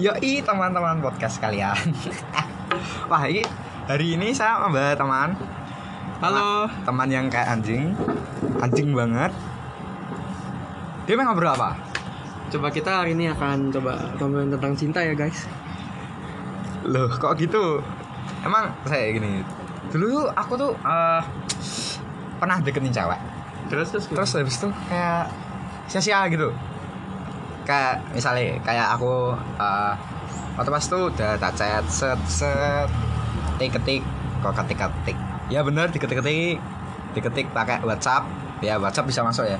Yoi teman-teman podcast kalian Wah ini hari ini saya membawa teman Halo. Teman yang kayak anjing Anjing banget Dia mau ngobrol apa? Coba kita hari ini akan coba ngomongin tentang cinta ya guys. Loh kok gitu? Emang saya gini Dulu aku tuh eh, Pernah deketin cewek Terus terus. Terus habis itu kayak sia-sia gitu Kayak misalnya kayak aku eh, Waktu pas itu udah tak chat set set Ketik ketik kok ketik ketik Ya bener diketik ketik Diketik pakai WhatsApp Ya WhatsApp bisa masuk ya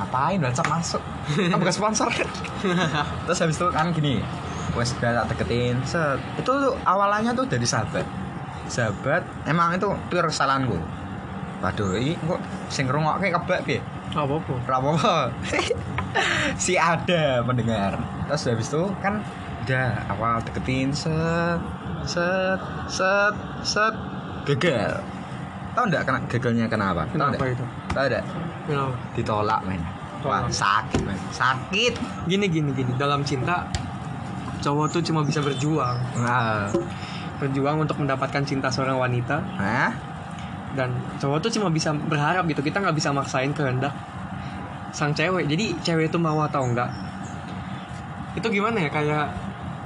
Ngapain WhatsApp masuk Kan bukan sponsor Terus habis itu kan gini Wes udah tak deketin set Itu tuh awalannya tuh dari sahabat Sahabat emang itu pure kesalahanku Waduh, ini kok sing ngrungokke kebak piye? Gak apa-apa. Ora apa-apa. si ada mendengar. Terus habis itu kan udah awal deketin set set set set gagal. Tahu enggak kena gagalnya kenapa? Tahu Kenapa nggak? itu? Tahu enggak? Kenapa? Ditolak, men. Wah, Tolak. sakit, men. Sakit. Gini gini gini. Dalam cinta cowok tuh cuma bisa berjuang, Nah, berjuang untuk mendapatkan cinta seorang wanita Hah? dan cowok tuh cuma bisa berharap gitu. Kita nggak bisa maksain kehendak sang cewek. Jadi cewek itu mau atau enggak itu gimana ya kayak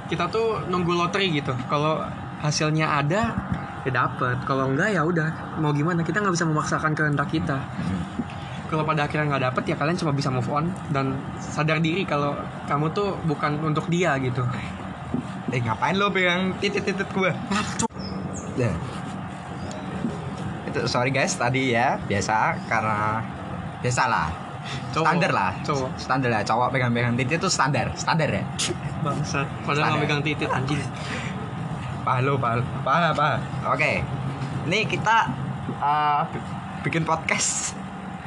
kita tuh nunggu lotre gitu. Kalau hasilnya ada ya dapet kalau enggak ya udah mau gimana kita nggak bisa memaksakan kehendak kita kalau pada akhirnya nggak dapet ya kalian cuma bisa move on dan sadar diri kalau kamu tuh bukan untuk dia gitu Eh, ngapain lo pegang titit-titit gua? Ya. Itu sorry guys tadi ya biasa karena biasalah Cowok. standar lah Cowok. standar lah cowok pegang-pegang titik itu standar standar ya bangsat padahal nggak Sadar. megang titik anjing pahalo pahalo pahalo pahalo oke ini kita eh, bi- bikin podcast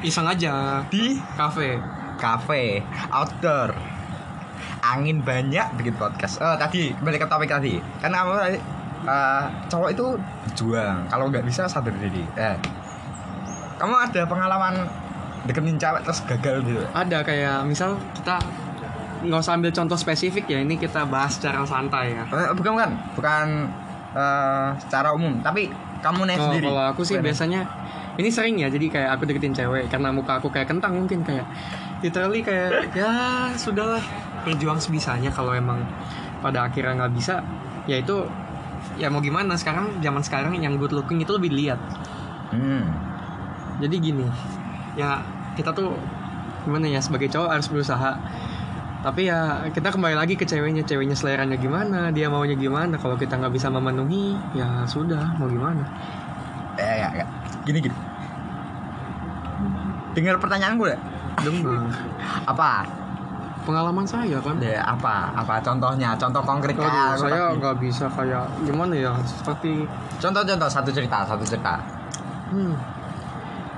iseng aja di kafe cafe outdoor angin banyak bikin podcast oh tadi kembali ke topik tadi karena kamu tadi eh, cowok itu juang kalau nggak bisa sadar diri eh, kamu ada pengalaman deketin cewek terus gagal gitu ada kayak misal kita nggak usah ambil contoh spesifik ya ini kita bahas secara santai ya Eh, bukan bukan bukan eh, secara umum tapi kamu naik Oh, sendiri kalau aku sih Bukan. biasanya ini sering ya jadi kayak aku deketin cewek karena muka aku kayak kentang mungkin kayak literally kayak ya sudahlah berjuang sebisanya kalau emang pada akhirnya nggak bisa ya itu ya mau gimana sekarang zaman sekarang yang good looking itu lebih dilihat Hmm. jadi gini ya kita tuh gimana ya sebagai cowok harus berusaha tapi ya kita kembali lagi ke ceweknya ceweknya seleranya gimana dia maunya gimana kalau kita nggak bisa memenuhi ya sudah mau gimana Eh, ya, ya. gini gini dengar pertanyaan gue Dengar. apa Nah, pengalaman saya kan Ya, apa apa contohnya contoh konkret Aduh, kayak aku saya tadi. nggak bisa kayak gimana ya seperti Contoh-contoh satu cerita, satu cerita. hmm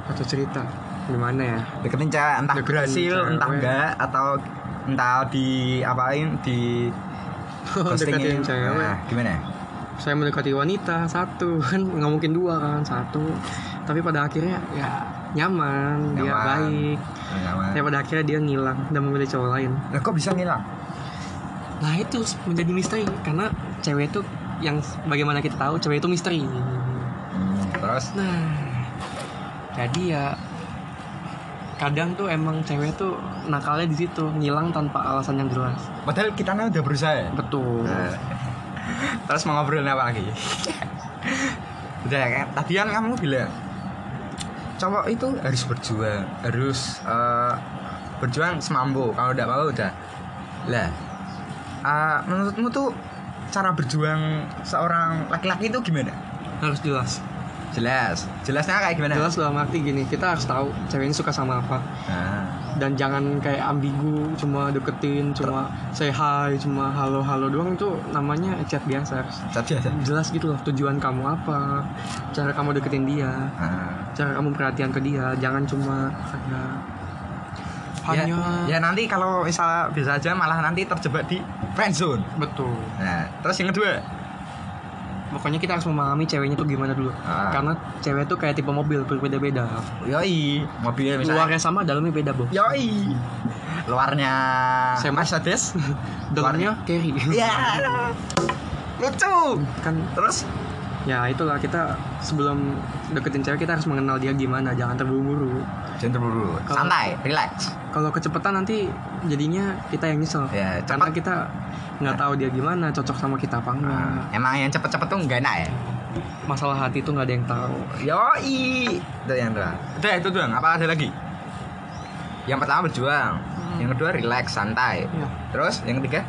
atau cerita gimana ya Deketin cewek entah Deketin berhasil, cewek. entah enggak atau entah di apain di Oh, deketin cewek Nah, gimana? saya mendekati wanita satu kan nggak mungkin dua kan satu tapi pada akhirnya ya nyaman, dia Nyaman. baik Nyaman. tapi pada akhirnya dia ngilang dan memilih cowok lain Lah, kok bisa ngilang? nah itu menjadi misteri karena cewek itu yang bagaimana kita tahu cewek itu misteri Hmm, terus Nah, jadi ya kadang tuh emang cewek tuh nakalnya di situ ngilang tanpa alasan yang jelas. padahal kita nih udah berusaha. ya? Betul. Nah, terus mau ngobrolin apa lagi? udah kan tadi kan kamu bilang cowok itu harus berjuang, harus eh, berjuang semampu. Kalau tidak mau udah. Lah, eh, menurutmu tuh cara berjuang seorang laki-laki itu gimana? Harus jelas. Jelas, jelasnya kayak gimana? Jelas dalam arti gini, kita harus tahu cewek ini suka sama apa Nah, dan jangan kayak ambigu, cuma deketin, cuma say hi, cuma halo-halo doang itu namanya chat biasa. Harus tapi ada. Jelas gitu loh tujuan kamu apa, cara kamu deketin dia. Nah. cara kamu perhatian ke dia jangan cuma kayak Ya, ya nanti kalau misal bisa aja malah nanti terjebak di friendzone. betul Nah, terus yang kedua, pokoknya kita harus memahami ceweknya tuh gimana dulu Ah. karena cewek tuh kayak tipe mobil berbeda-beda yoi mobilnya misalnya luarnya sama dalamnya beda bos yoi luarnya Ah. Semo. Mercedes dalamnya carry ya lucu kan terus ya itulah kita sebelum deketin cewek kita harus mengenal dia gimana jangan terburu-buru jangan terburu Kalau- Oh. santai relax kalau kecepatan nanti jadinya kita yang nyesel Ya, karena cepat. kita nggak tahu dia gimana cocok sama kita apa enggak emang yang cepet-cepet tuh enggak enak ya masalah hati itu nggak ada yang tahu Yoi Itu yang doang Udah itu doang Apa ada lagi? Hmm. Yang pertama berjuang Yang kedua relax santai ya Terus yang ketiga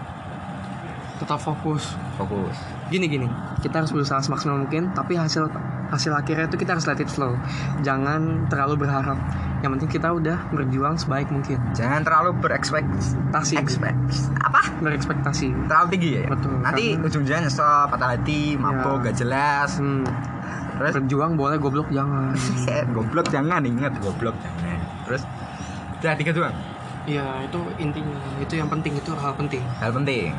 tetap fokus fokus gini gini kita harus berusaha semaksimal mungkin tapi hasil hasil akhirnya itu kita harus let it flow jangan terlalu berharap yang penting kita udah berjuang sebaik mungkin Jangan terlalu berekspek Tasi. Ekspek Apa? berekspektasi Terlalu tinggi ya? Betul, Nanti karena- ujung-ujungnya nyesel Patah hati Mabok Ya. gak jelas hmm, Terus berjuang boleh goblok jangan Goblok jangan ingat Goblok jangan Terus Udah tiga doang iya itu intinya itu yang penting itu hal penting Hal penting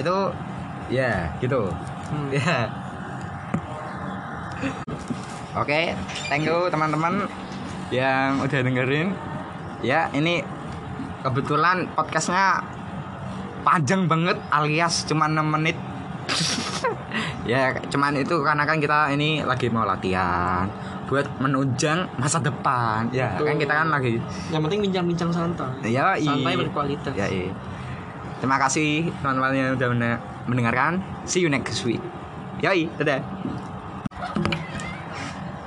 Itu Ya gitu Hmm. Ya. Oke, thank you teman-teman yang udah dengerin. Ya, ini kebetulan podcastnya panjang banget alias cuma 6 menit. ya, cuman itu karena kan kita ini lagi mau latihan buat menunjang masa depan. Ya, Betul. kan kita kan lagi yang penting bincang-bincang santai ya i- santai berkualitas Ya, i. Terima kasih teman-teman yang udah men- mendengarkan. See you next week. Yoi, dadah.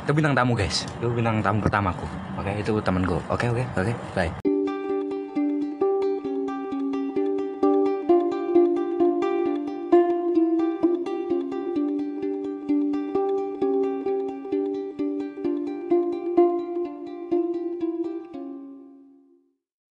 Itu bintang tamu guys. Itu bintang tamu pertamaku. Oke, itu temanku. Oke, oke, oke. Bye.